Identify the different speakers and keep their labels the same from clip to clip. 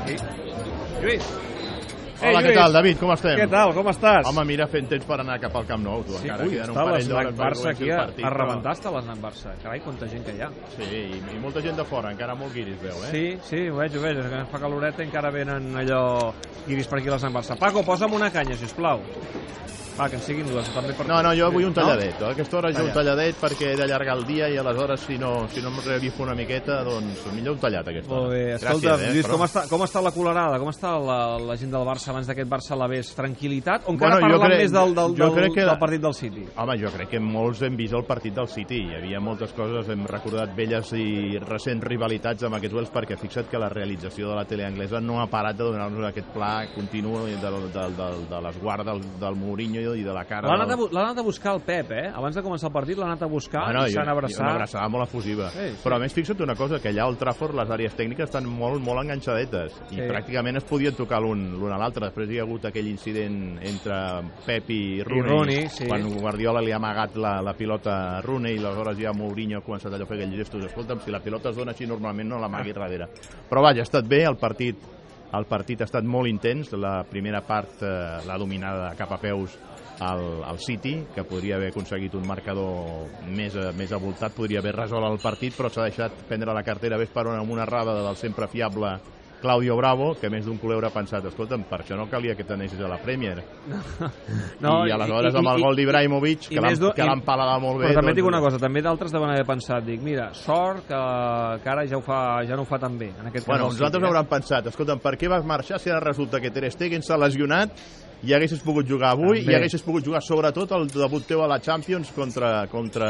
Speaker 1: aquí. Lluís.
Speaker 2: Hola, què tal, David? Com estem?
Speaker 1: Què tal? Com estàs?
Speaker 2: Home, mira, fent temps per anar cap al Camp Nou, tu.
Speaker 1: sí,
Speaker 2: encara
Speaker 1: ui,
Speaker 2: queden un
Speaker 1: està
Speaker 2: parell
Speaker 1: l'esnac
Speaker 2: d'hores per
Speaker 1: Barça
Speaker 2: començar
Speaker 1: aquí
Speaker 2: el
Speaker 1: a,
Speaker 2: partit,
Speaker 1: a
Speaker 2: però-
Speaker 1: rebentar està l'esnac Barça. Carai, quanta gent que hi ha.
Speaker 2: Sí, i, i molta gent de fora, encara molt guiris, veu, eh?
Speaker 1: Sí, sí, ho veig, ho veig. És que ens fa caloreta i encara venen allò guiris per aquí a l'esnac Barça. Paco, posa'm una canya, sisplau. Va, que en siguin dues. També per...
Speaker 2: No, no, jo vull un
Speaker 1: No?
Speaker 2: talladet. A aquesta hora jo un
Speaker 1: Tallat.
Speaker 2: talladet perquè he d'allargar el dia i aleshores si no, si no em revifo una miqueta, doncs millor un tallat a aquesta hora.
Speaker 1: Molt bé. Escolta,
Speaker 2: Gràcies, eh,
Speaker 1: Lluís,
Speaker 2: però-
Speaker 1: com està, com està la colorada? Com està la, la gent del Barça abans d'aquest Barça la ves? Tranquilitat? O encara
Speaker 2: Bueno, jo
Speaker 1: parlant
Speaker 2: crec-
Speaker 1: més del, del,
Speaker 2: jo
Speaker 1: del,
Speaker 2: crec que-
Speaker 1: del partit del City?
Speaker 2: Home, jo crec que molts hem vist el partit del City. Hi havia moltes coses, hem recordat velles i recents rivalitats amb aquests duels perquè fixa't que la realització de la tele anglesa no ha parat de donar-nos aquest pla continu del, del, del, de l'esguard del, del Mourinho i de la cara...
Speaker 1: L'ha anat, a,
Speaker 2: del...
Speaker 1: bu- l'ha anat a buscar el Pep, eh? Abans de començar el partit l'ha anat a buscar
Speaker 2: Ah, no,
Speaker 1: i
Speaker 2: jo-
Speaker 1: s'han
Speaker 2: jo- Una
Speaker 1: abraçat.
Speaker 2: abraçada molt efusiva.
Speaker 1: Sí, sí.
Speaker 2: Però a més, fixa't una cosa, que allà al Trafford les àrees tècniques estan molt, molt enganxadetes i
Speaker 1: Sí.
Speaker 2: pràcticament es podien tocar l'un l'un a l'altre. Després hi ha hagut aquell incident entre Pep i Rooney,
Speaker 1: Rooney, sí.
Speaker 2: quan Guardiola li ha amagat la, la pilota a Rooney i aleshores ja Mourinho ha començat allò a fer aquells gestos. Escolta'm, si la pilota es dona així normalment no l'amagui darrere. Però vaja, ha estat bé el partit el partit ha estat molt intens, la primera part eh, l'ha dominada cap a peus al, al City, que podria haver aconseguit un marcador més, eh, més avoltat, podria haver resolt el partit, però s'ha deixat prendre la cartera ves per una, amb una errada del sempre fiable Claudio Bravo, que més d'un culeure ha pensat, escolta'm, per això no calia que t'anessis a la Premier. No, I aleshores amb el gol d'Ibrahimovic,
Speaker 1: i
Speaker 2: que l'han
Speaker 1: més d'un-
Speaker 2: que l'han paladat molt bé...
Speaker 1: Però també et dic
Speaker 2: doncs,
Speaker 1: una cosa, també d'altres deuen haver pensat, dic, mira, sort que, que ara ja, ho fa, ja no ho fa tan bé. En aquest eh?"
Speaker 2: Bueno,
Speaker 1: cas,
Speaker 2: uns altres
Speaker 1: hauran...
Speaker 2: hauran pensat, escolta'm, per què vas marxar si ara resulta que Ter Stegen s'ha lesionat i haguessis pogut jugar avui
Speaker 1: També.
Speaker 2: i haguessis pogut jugar sobretot el debut teu a la Champions contra, contra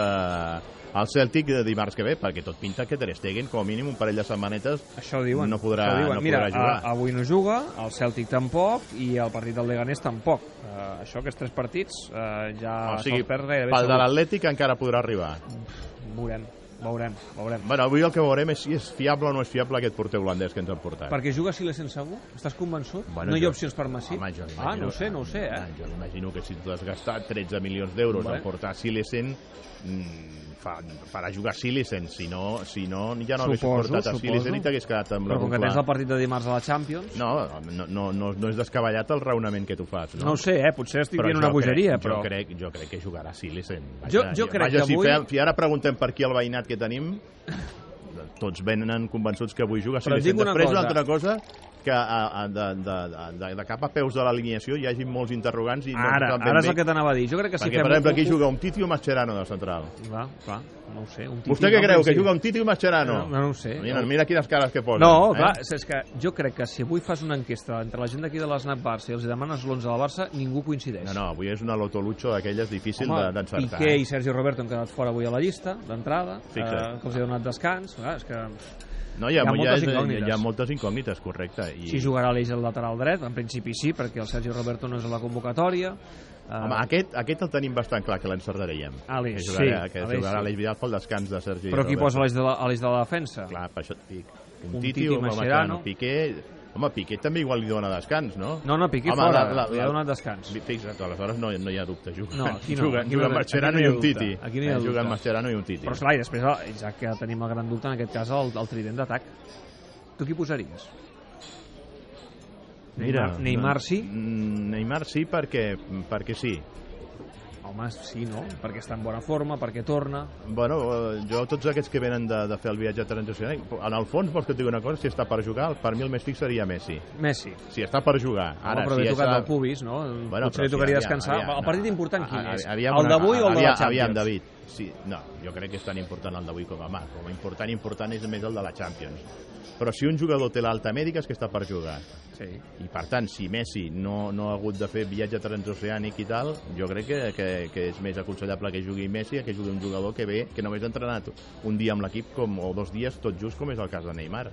Speaker 2: el Celtic de dimarts que ve, perquè tot pinta que Ter Stegen, com a mínim un parell de setmanetes,
Speaker 1: Això diuen.
Speaker 2: No podrà-
Speaker 1: això diuen.
Speaker 2: no
Speaker 1: Mira,
Speaker 2: podrà jugar.
Speaker 1: a- avui no juga, el Celtic tampoc, i el partit del Leganés tampoc. Uh, això, aquests tres partits, uh, ja
Speaker 2: o sigui,
Speaker 1: se'ls perd gairebé.
Speaker 2: pel de
Speaker 1: segur.
Speaker 2: l'Atlètic encara podrà arribar.
Speaker 1: Veurem, veurem, veurem.
Speaker 2: Bueno, avui el que veurem és si és fiable o no és fiable aquest porter holandès que ens han portat.
Speaker 1: Perquè juga si l'Essen segur? Estàs convençut?
Speaker 2: Bueno,
Speaker 1: no hi
Speaker 2: jo-
Speaker 1: ha opcions per Massi?
Speaker 2: Home, jo
Speaker 1: ah,
Speaker 2: imagino-
Speaker 1: no ho sé, no ho sé, eh?
Speaker 2: Ah, Jo imagino que si tu has gastat 13 milions d'euros
Speaker 1: Vale.
Speaker 2: en portar Silesen, mm, fa, farà jugar Silesen. Si no, si no ja no haguessis
Speaker 1: Suposo,
Speaker 2: portat a
Speaker 1: suposo.
Speaker 2: Silesen i t'hagués quedat amb
Speaker 1: Però com
Speaker 2: la
Speaker 1: que tens el partit de dimarts a la Champions...
Speaker 2: No, no, no, no, no és descabellat el raonament que tu fas. No,
Speaker 1: No ho sé, eh? Potser estic
Speaker 2: Però
Speaker 1: dient
Speaker 2: jo
Speaker 1: una
Speaker 2: crec-
Speaker 1: bogeria,
Speaker 2: jo
Speaker 1: però...
Speaker 2: Crec, jo crec que jugarà Silesen.
Speaker 1: Jo- jo crec
Speaker 2: vaja,
Speaker 1: que
Speaker 2: si
Speaker 1: avui-
Speaker 2: fe- Si ara preguntem per qui el veïnat que tenim, tots venen convençuts que avui juga
Speaker 1: Però et
Speaker 2: Silesen.
Speaker 1: dic una
Speaker 2: Després, una
Speaker 1: cosa.
Speaker 2: altra cosa, que a, a, de, de, de, de cap a peus de l'alineació hi hagi molts interrogants i no
Speaker 1: Ara,
Speaker 2: saben ben
Speaker 1: ara és
Speaker 2: bé
Speaker 1: el que t'anava a dir. Jo crec que si
Speaker 2: perquè,
Speaker 1: fem...
Speaker 2: per exemple,
Speaker 1: un-
Speaker 2: aquí juga un Titi o Mascherano de central.
Speaker 1: Va, clar, no ho sé. Un
Speaker 2: Vostè què creu, que juga un Titi o Mascherano?
Speaker 1: No, no ho sé.
Speaker 2: Mira, mira quines cares que posa. eh?
Speaker 1: No, clar, és que jo crec que si avui fas una enquesta entre la gent d'aquí de l'Snap Barça i els hi demanes l'11 del Barça, ningú coincideix.
Speaker 2: No, no, avui és una lotolutxo d'aquelles difícil
Speaker 1: Home,
Speaker 2: de- d'encertar. eh?
Speaker 1: Piqué i Sergio Roberto han quedat fora avui a la llista, d'entrada, eh,
Speaker 2: Fixa't.
Speaker 1: que els he donat descans. Clar, és que
Speaker 2: No, hi ha,
Speaker 1: hi ha
Speaker 2: hi, ha
Speaker 1: moltes
Speaker 2: és-
Speaker 1: incògnites.
Speaker 2: hi ha moltes incògnites, correcte. I,
Speaker 1: si jugarà l'eix al lateral dret, en principi sí, perquè el Sergio Roberto no és a la convocatòria. Eh,
Speaker 2: Home, aquest, aquest el tenim bastant clar, que l'encertaríem.
Speaker 1: A l'eix,
Speaker 2: Que jugarà,
Speaker 1: sí,
Speaker 2: que
Speaker 1: a l'eix,
Speaker 2: jugarà
Speaker 1: sí.
Speaker 2: l'Eix Vidal pel descans de Sergi
Speaker 1: però qui
Speaker 2: Roberto.
Speaker 1: posa l'eix de, la, a l'eix de la defensa?
Speaker 2: Clar, per això et dic. Un,
Speaker 1: Un
Speaker 2: Titi,
Speaker 1: Titi,
Speaker 2: un
Speaker 1: Mascherano.
Speaker 2: Mascherano. Piqué... Home, Piqué també igual li dona descans, no?
Speaker 1: No, no, Piqué
Speaker 2: Home,
Speaker 1: fora,
Speaker 2: la- la-
Speaker 1: li ha
Speaker 2: la-
Speaker 1: donat descans.
Speaker 2: Fixa't, aleshores no, no hi ha dubte. Juguen,
Speaker 1: No, aquí no,
Speaker 2: juguen,
Speaker 1: aquí no
Speaker 2: juguen
Speaker 1: hi ha- aquí no
Speaker 2: Mascherano
Speaker 1: hi
Speaker 2: i
Speaker 1: ha
Speaker 2: un
Speaker 1: dubte,
Speaker 2: Titi.
Speaker 1: aquí no hi ha
Speaker 2: Eh, Juguen
Speaker 1: dubte.
Speaker 2: Mascherano i un Titi.
Speaker 1: Però esclar, i després, el- ja que tenim el gran dubte, en aquest cas, el, el trident d'atac. Tu qui posaries? Neymar, Neymar sí?
Speaker 2: Mm, Neymar sí perquè, perquè sí.
Speaker 1: Home, sí, no? Perquè està en bona forma, perquè torna...
Speaker 2: Bueno, eh, jo tots aquests que venen de, de fer el viatge transnacional, en el fons vols que et digui una cosa, si està per jugar, per mi el més fix seria Messi.
Speaker 1: Messi.
Speaker 2: Si està per jugar.
Speaker 1: Ara, Home, però
Speaker 2: si
Speaker 1: li ha
Speaker 2: ja
Speaker 1: tocat
Speaker 2: està-
Speaker 1: el pubis, no?
Speaker 2: Bueno,
Speaker 1: Bueno,
Speaker 2: però
Speaker 1: Potser li
Speaker 2: sí,
Speaker 1: tocaria
Speaker 2: aviam,
Speaker 1: descansar.
Speaker 2: aviam,
Speaker 1: el
Speaker 2: no.
Speaker 1: partit important quin
Speaker 2: A-
Speaker 1: és?
Speaker 2: a- aviam
Speaker 1: el
Speaker 2: una-
Speaker 1: d'avui o el de la
Speaker 2: aviam-
Speaker 1: Champions?
Speaker 2: Aviam, David. Sí, no, jo crec que és tan important el d'avui com demà. Com a important, important és més el de la Champions. Però si un jugador té l'alta mèdica és que està per jugar.
Speaker 1: Sí.
Speaker 2: I per tant, si Messi no, no ha hagut de fer viatge transoceànic i tal, jo crec que, que, que és més aconsellable que jugui Messi que jugui un jugador que ve, que només ha entrenat un dia amb l'equip com o dos dies, tot just com és el cas de Neymar.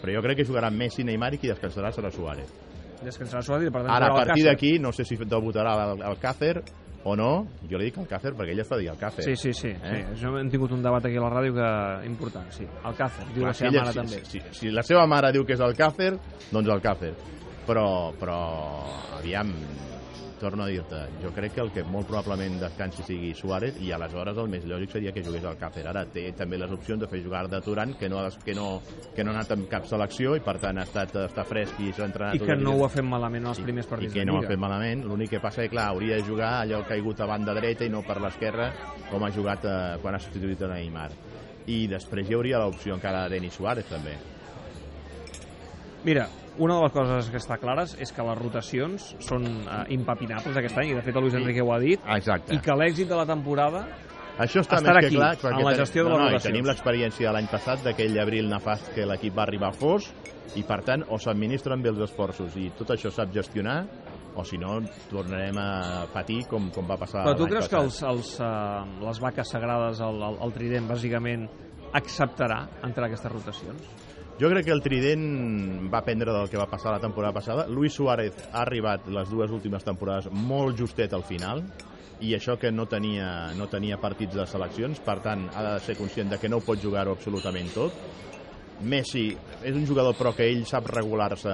Speaker 2: Però jo crec que jugarà Messi, Neymar i qui descansarà serà Suárez.
Speaker 1: Descansarà Suárez i per tant...
Speaker 2: Ara, a
Speaker 1: jugarà el
Speaker 2: partir
Speaker 1: Càcer.
Speaker 2: d'aquí, no sé si debutarà el, el Càcer o no. Jo li dic el Càcer perquè ell es fa dir el Càcer.
Speaker 1: Sí, sí, sí. Eh? sí. Jo hem tingut un debat aquí a la ràdio que... important, sí. El Càcer, diu
Speaker 2: Clar,
Speaker 1: la seva
Speaker 2: Ah, ella-
Speaker 1: mare
Speaker 2: si,
Speaker 1: també.
Speaker 2: Si, si, si la seva mare diu que és el Càcer, doncs el Càcer. Però, però aviam, torno a dir-te, jo crec que el que molt probablement descansi sigui Suárez i aleshores el més lògic seria que jugués al Càcer. Ara té també les opcions de fer jugar de Turan, que no, ha des- que no, que no ha anat amb cap selecció i per tant ha estat, està fresc i s'ha entrenat...
Speaker 1: I que no ho ha fet malament en els primers
Speaker 2: I
Speaker 1: partits de
Speaker 2: que no ho ha fet
Speaker 1: Lliga.
Speaker 2: malament, l'únic que passa és que clar, hauria de jugar allò caigut a banda dreta i no per l'esquerra com ha jugat eh, quan ha substituït a Neymar i després hi hauria l'opció encara de Denis Suárez també
Speaker 1: Mira, una de les coses que està clares és que les rotacions són eh, impepinables aquest any, i de fet el Luis Enrique ho ha dit,
Speaker 2: exacte
Speaker 1: i que l'èxit de la temporada
Speaker 2: Això està
Speaker 1: Estar
Speaker 2: més
Speaker 1: aquí,
Speaker 2: que clar.
Speaker 1: en
Speaker 2: perquè
Speaker 1: la
Speaker 2: ten-
Speaker 1: gestió de
Speaker 2: no,
Speaker 1: les
Speaker 2: no, i
Speaker 1: rotacions.
Speaker 2: Tenim l'experiència de l'any passat, d'aquell abril nefast que l'equip va arribar fos, i per tant, o s'administren bé els esforços i tot això sap gestionar, o si no, tornarem a patir com, com va passar
Speaker 1: Però tu
Speaker 2: Ah, l'any
Speaker 1: creus que
Speaker 2: passat.
Speaker 1: els, els, eh, les vaques sagrades, el, el, el trident, bàsicament, acceptarà entrar a aquestes rotacions?
Speaker 2: Jo crec que el Trident va aprendre del que va passar la temporada passada. Luis Suárez ha arribat les dues últimes temporades molt justet al final i això que no tenia, no tenia partits de seleccions, per tant ha de ser conscient de que no ho pot jugar absolutament tot. Messi és un jugador però que ell sap regular-se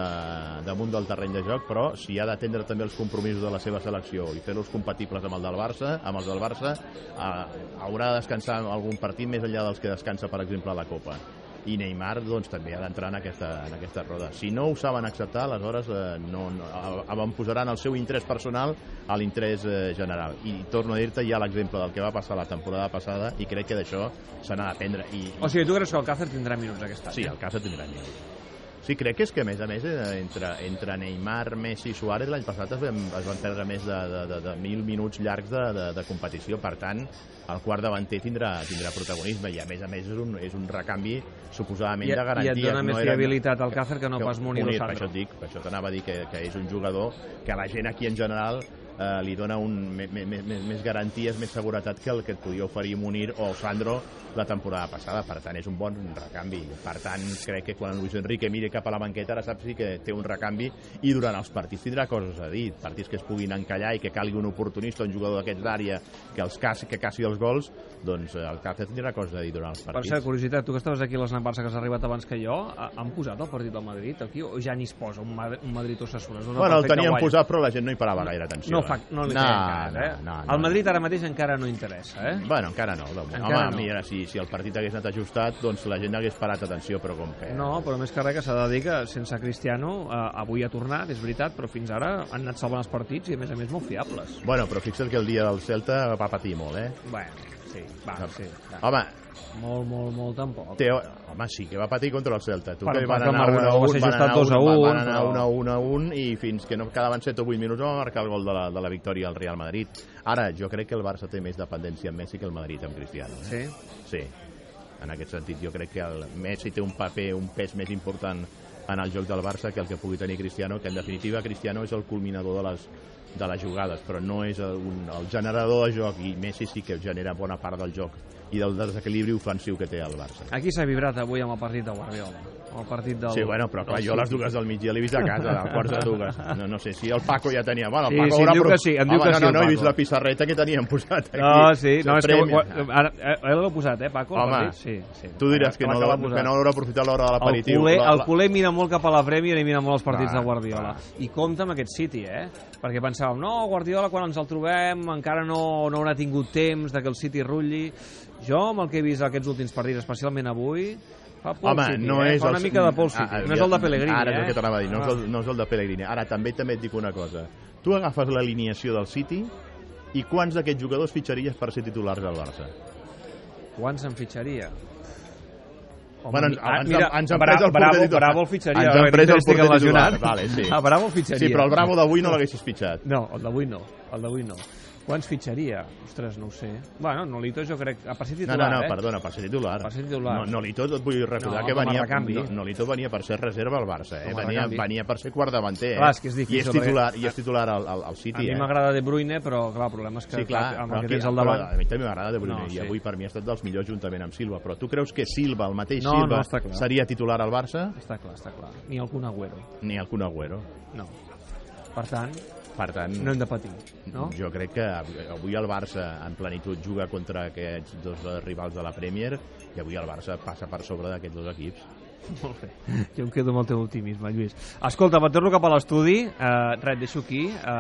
Speaker 2: damunt del terreny de joc, però si ha d'atendre també els compromisos de la seva selecció i fer-los compatibles amb el del Barça, amb els del Barça, eh, haurà de descansar en algun partit més enllà dels que descansa, per exemple, a la Copa. I Neymar doncs, també ha d'entrar en, aquesta, en aquesta roda. Si no ho saben acceptar, aleshores eh, no, no, a- avantposaran el seu interès personal a l'interès eh, general. I torno a dir-te ja l'exemple del que va passar la temporada passada i crec que d'això se n'ha d'aprendre. I, i
Speaker 1: O sigui, tu creus que el Càcer tindrà minuts aquest any?
Speaker 2: Sí, el Casa tindrà millor. Sí, crec que és que, a més a més, eh, entre, entre Neymar, Messi i Suárez, l'any passat es van, es van perdre més de, de, de, de mil minuts llargs de, de, de competició. Per tant, el quart davanter tindrà, tindrà protagonisme i, a més a més, és un, és un recanvi
Speaker 1: I,
Speaker 2: suposadament de
Speaker 1: I
Speaker 2: garanties.
Speaker 1: et dona més
Speaker 2: eren-
Speaker 1: fiabilitat al Càcer que no
Speaker 2: que
Speaker 1: pas Muni
Speaker 2: Munier,
Speaker 1: o
Speaker 2: Per això
Speaker 1: Sandro.
Speaker 2: et dic, per això t'anava a dir que, que és un jugador que a la gent aquí en general eh, li dona un, me, me, me, me- més garanties, més seguretat que el que et podia oferir Munir o Sandro la temporada passada, per tant és un bon recanvi per tant crec que quan Luis Enrique mire cap a la banqueta ara sap sí que té un recanvi i durant els partits tindrà coses a dir partits que es puguin encallar i que calgui un oportunista un jugador d'aquests d'àrea que els caci, que caci els gols, doncs eh, el Càcer tindrà coses a dir durant els
Speaker 1: Per
Speaker 2: partits
Speaker 1: cert, curiositat, tu que estaves aquí a l'Esnat Barça, que has arribat abans que jo, a- han posat el partit del Madrid aquí o ja n'hi es posa un, Madrid, un Madrid o Sassuna?
Speaker 2: Bueno, el teníem posat, però la gent no hi parava gaire atenció. eh?
Speaker 1: No, fa, no li
Speaker 2: no,
Speaker 1: feia cas, eh?
Speaker 2: No, no, no.
Speaker 1: El Madrid ara mateix encara no interessa, eh?
Speaker 2: Bueno, encara no. Doncs,
Speaker 1: Encara
Speaker 2: home,
Speaker 1: no.
Speaker 2: mira, si, si el partit hagués anat ajustat, doncs la gent hagués parat atenció, però com que...
Speaker 1: No, però més que res que s'ha de dir que sense Cristiano eh, avui ha tornat, és veritat, però fins ara han anat salvant els partits i a més a més molt fiables.
Speaker 2: Bueno, però fixa't que el dia del Celta va patir molt, eh?
Speaker 1: Bueno, sí, va, sí. Va.
Speaker 2: Home,
Speaker 1: Molt, molt, molt tampoc.
Speaker 2: Teo, home, Oh. sí que va patir contra el Celta. Tu
Speaker 1: Però
Speaker 2: que
Speaker 1: va
Speaker 2: van
Speaker 1: acabar
Speaker 2: anar 1 a 1,
Speaker 1: va ser
Speaker 2: van
Speaker 1: ajustat
Speaker 2: anar
Speaker 1: 2 a
Speaker 2: 1,
Speaker 1: un,
Speaker 2: van anar
Speaker 1: però-
Speaker 2: 1 a 1 a 1 i fins que no quedaven 7 o 8 minuts no va marcar el gol de la, de la victòria al Real Madrid. Ara, jo crec que el Barça té més dependència amb Messi que el Madrid amb Cristiano. Eh?
Speaker 1: Sí?
Speaker 2: Sí, en aquest sentit jo crec que el Messi té un paper, un pes més important en el joc del Barça que el que pugui tenir Cristiano, que en definitiva Cristiano és el culminador de les, de les jugades, però no és el, un, el generador de joc, i Messi sí que genera bona part del joc i del desequilibri ofensiu que té el Barça.
Speaker 1: Aquí s'ha vibrat avui amb el partit de Guardiola. Amb el partit del...
Speaker 2: Sí, bueno, però clar,
Speaker 1: del
Speaker 2: jo a les dues del migdia l'he vist a casa, a quarts de dues. No, no sé si el Paco ja tenia... Bueno, el
Speaker 1: Sí,
Speaker 2: Paco
Speaker 1: sí, em
Speaker 2: haurà
Speaker 1: diu
Speaker 2: pro-
Speaker 1: que sí, em diu
Speaker 2: Home,
Speaker 1: que
Speaker 2: no,
Speaker 1: sí, el
Speaker 2: No, no, he
Speaker 1: Paco.
Speaker 2: vist la pissarreta que teníem posat Eh, aquí.
Speaker 1: No, sí, no, és que...
Speaker 2: Premi.
Speaker 1: Ara, eh, eh, l'heu posat, eh, Paco? el
Speaker 2: Home,
Speaker 1: partit? sí, sí. eh,
Speaker 2: Tu diràs que
Speaker 1: L'ha
Speaker 2: no,
Speaker 1: acabat
Speaker 2: que
Speaker 1: posant.
Speaker 2: no haurà aprofitat l'hora de
Speaker 1: El
Speaker 2: l'aperitiu.
Speaker 1: culer,
Speaker 2: La- la-
Speaker 1: el culer mira molt cap a la Premier i mira molt els partits
Speaker 2: Clar,
Speaker 1: de Guardiola. I compta amb aquest City, eh? Perquè pensàvem, no, Guardiola, quan ens el trobem, encara no, no haurà tingut temps de que el City rutlli. Jo, amb el que he vist aquests últims partits, especialment avui, fa por
Speaker 2: Home,
Speaker 1: el City,
Speaker 2: no
Speaker 1: eh?
Speaker 2: és
Speaker 1: fa una
Speaker 2: el... Ah,
Speaker 1: mica de por el City. no és el de Pellegrini,
Speaker 2: Ara
Speaker 1: eh?
Speaker 2: és el que t'anava a dir, no, és
Speaker 1: Ah.
Speaker 2: el, no és el de Pellegrini. Ara, també també et dic una cosa. Tu agafes l'alineació del City i quants d'aquests jugadors fitxaries per ser titulars al Barça?
Speaker 1: Quan se'n fitxaria? Home,
Speaker 2: Bueno,
Speaker 1: mi-
Speaker 2: ens- ens- ens han
Speaker 1: Bra-
Speaker 2: pres el porter
Speaker 1: Bravo,
Speaker 2: titular.
Speaker 1: Bravo el fitxaria.
Speaker 2: Ens han pres el
Speaker 1: Ter Stegen
Speaker 2: porter titular,
Speaker 1: lesionat.
Speaker 2: vale, sí.
Speaker 1: Ah, Bravo el fitxaria.
Speaker 2: Sí, però el Bravo d'avui no l'haguessis fitxat.
Speaker 1: No, el d'avui no, el d'avui no. Quants fitxaria? Ostres, no ho sé. Bueno, Nolito jo crec... A partir
Speaker 2: No,
Speaker 1: titular,
Speaker 2: no, no,
Speaker 1: eh?
Speaker 2: perdona, per ser titular.
Speaker 1: Per ser titular.
Speaker 2: No, Nolito, et vull recordar
Speaker 1: No,
Speaker 2: que
Speaker 1: com a
Speaker 2: venia,
Speaker 1: recanvi.
Speaker 2: no, Nolito venia per ser reserva al Barça, eh?
Speaker 1: Com a
Speaker 2: Venia,
Speaker 1: recanvi.
Speaker 2: venia per ser quart davanter, eh?
Speaker 1: Clar, és que és difícil,
Speaker 2: I és
Speaker 1: perquè-
Speaker 2: titular, i és titular al, al, al
Speaker 1: A
Speaker 2: City,
Speaker 1: mi
Speaker 2: eh?
Speaker 1: m'agrada De Bruyne, però clar, el problema és que
Speaker 2: Sí, clar,
Speaker 1: amb
Speaker 2: però
Speaker 1: el que
Speaker 2: aquí-
Speaker 1: tens al
Speaker 2: però
Speaker 1: davant...
Speaker 2: A mi també m'agrada De Bruyne
Speaker 1: No,
Speaker 2: i
Speaker 1: sí.
Speaker 2: avui per mi ha estat dels millors juntament amb Silva, però tu creus que Silva, el mateix
Speaker 1: No, no,
Speaker 2: Silva,
Speaker 1: està clar.
Speaker 2: seria titular al Barça?
Speaker 1: Està clar, està clar. Ni el Kun Agüero.
Speaker 2: Ni el Kun Agüero.
Speaker 1: No. Per tant,
Speaker 2: Per tant,
Speaker 1: no hem de patir, no?
Speaker 2: jo crec que av- avui el Barça en plenitud juga contra aquests dos eh, rivals de la Premier i avui el Barça passa per sobre d'aquests dos equips.
Speaker 1: Molt bé. Jo em quedo amb el teu optimisme, Lluís. Escolta, me'n torno cap a l'estudi. Uh, res, et deixo aquí. Uh,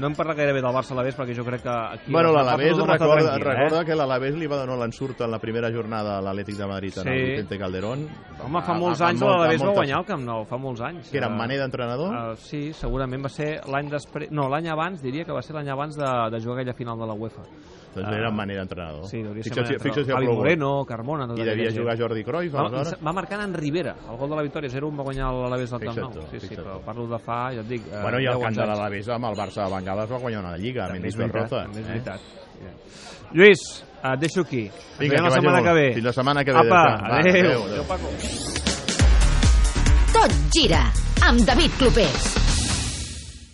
Speaker 1: no hem parlat gairebé del Barça a l'Aves, perquè jo crec que... Aquí
Speaker 2: Bueno,
Speaker 1: la
Speaker 2: l'Alavés
Speaker 1: Barça està
Speaker 2: recorda,
Speaker 1: tranquil, eh?
Speaker 2: recorda que l'Alavés li va donar l'ensurt en la primera jornada a l'Atlètic de Madrid en
Speaker 1: Sí.
Speaker 2: el Vicente Calderón. Ah,
Speaker 1: Home, fa
Speaker 2: A- a-
Speaker 1: molts
Speaker 2: a
Speaker 1: anys
Speaker 2: molt- a
Speaker 1: l'Alavés va
Speaker 2: moltes-
Speaker 1: guanyar el Camp Nou, fa molts anys.
Speaker 2: Que era Mané d'entrenador?
Speaker 1: Uh, sí, segurament va ser l'any després... No, l'any abans, diria que va ser l'any abans de, de jugar aquella final de la UEFA.
Speaker 2: Doncs era Mané d'entrenador.
Speaker 1: Ah. Sí, devia ser
Speaker 2: fixa't,
Speaker 1: Mané
Speaker 2: fixa't si Oh. ha
Speaker 1: Javi
Speaker 2: plogut.
Speaker 1: Moreno, Carmona... tota
Speaker 2: I
Speaker 1: aquella
Speaker 2: devia
Speaker 1: gent.
Speaker 2: jugar Jordi Cruyff,
Speaker 1: Va,
Speaker 2: aleshores.
Speaker 1: va marcant en Rivera, el gol de la victòria 0 va guanyar l'Alavés del Camp
Speaker 2: Fixa't
Speaker 1: Nou.
Speaker 2: tu,
Speaker 1: Sí, sí,
Speaker 2: fixa't
Speaker 1: però
Speaker 2: tu.
Speaker 1: parlo de fa, ja et dic... eh,
Speaker 2: Bueno, i el
Speaker 1: 10
Speaker 2: camp de
Speaker 1: anys.
Speaker 2: l'Alavés amb el Barça de Bengales va guanyar una lliga, Eh?
Speaker 1: També
Speaker 2: menys
Speaker 1: és veritat,
Speaker 2: derrota.
Speaker 1: també és veritat. Ja. Lluís, et deixo aquí. Ens veiem
Speaker 2: Vinga, que
Speaker 1: la
Speaker 2: vagi
Speaker 1: setmana
Speaker 2: molt
Speaker 1: que
Speaker 2: bé.
Speaker 1: ve.
Speaker 2: Fins la setmana que ve,
Speaker 1: Apa,
Speaker 2: Adéu-siau. Va,
Speaker 1: adéu.
Speaker 2: adéu, adéu.
Speaker 1: adéu Paco.
Speaker 3: Tot gira amb David Clopés.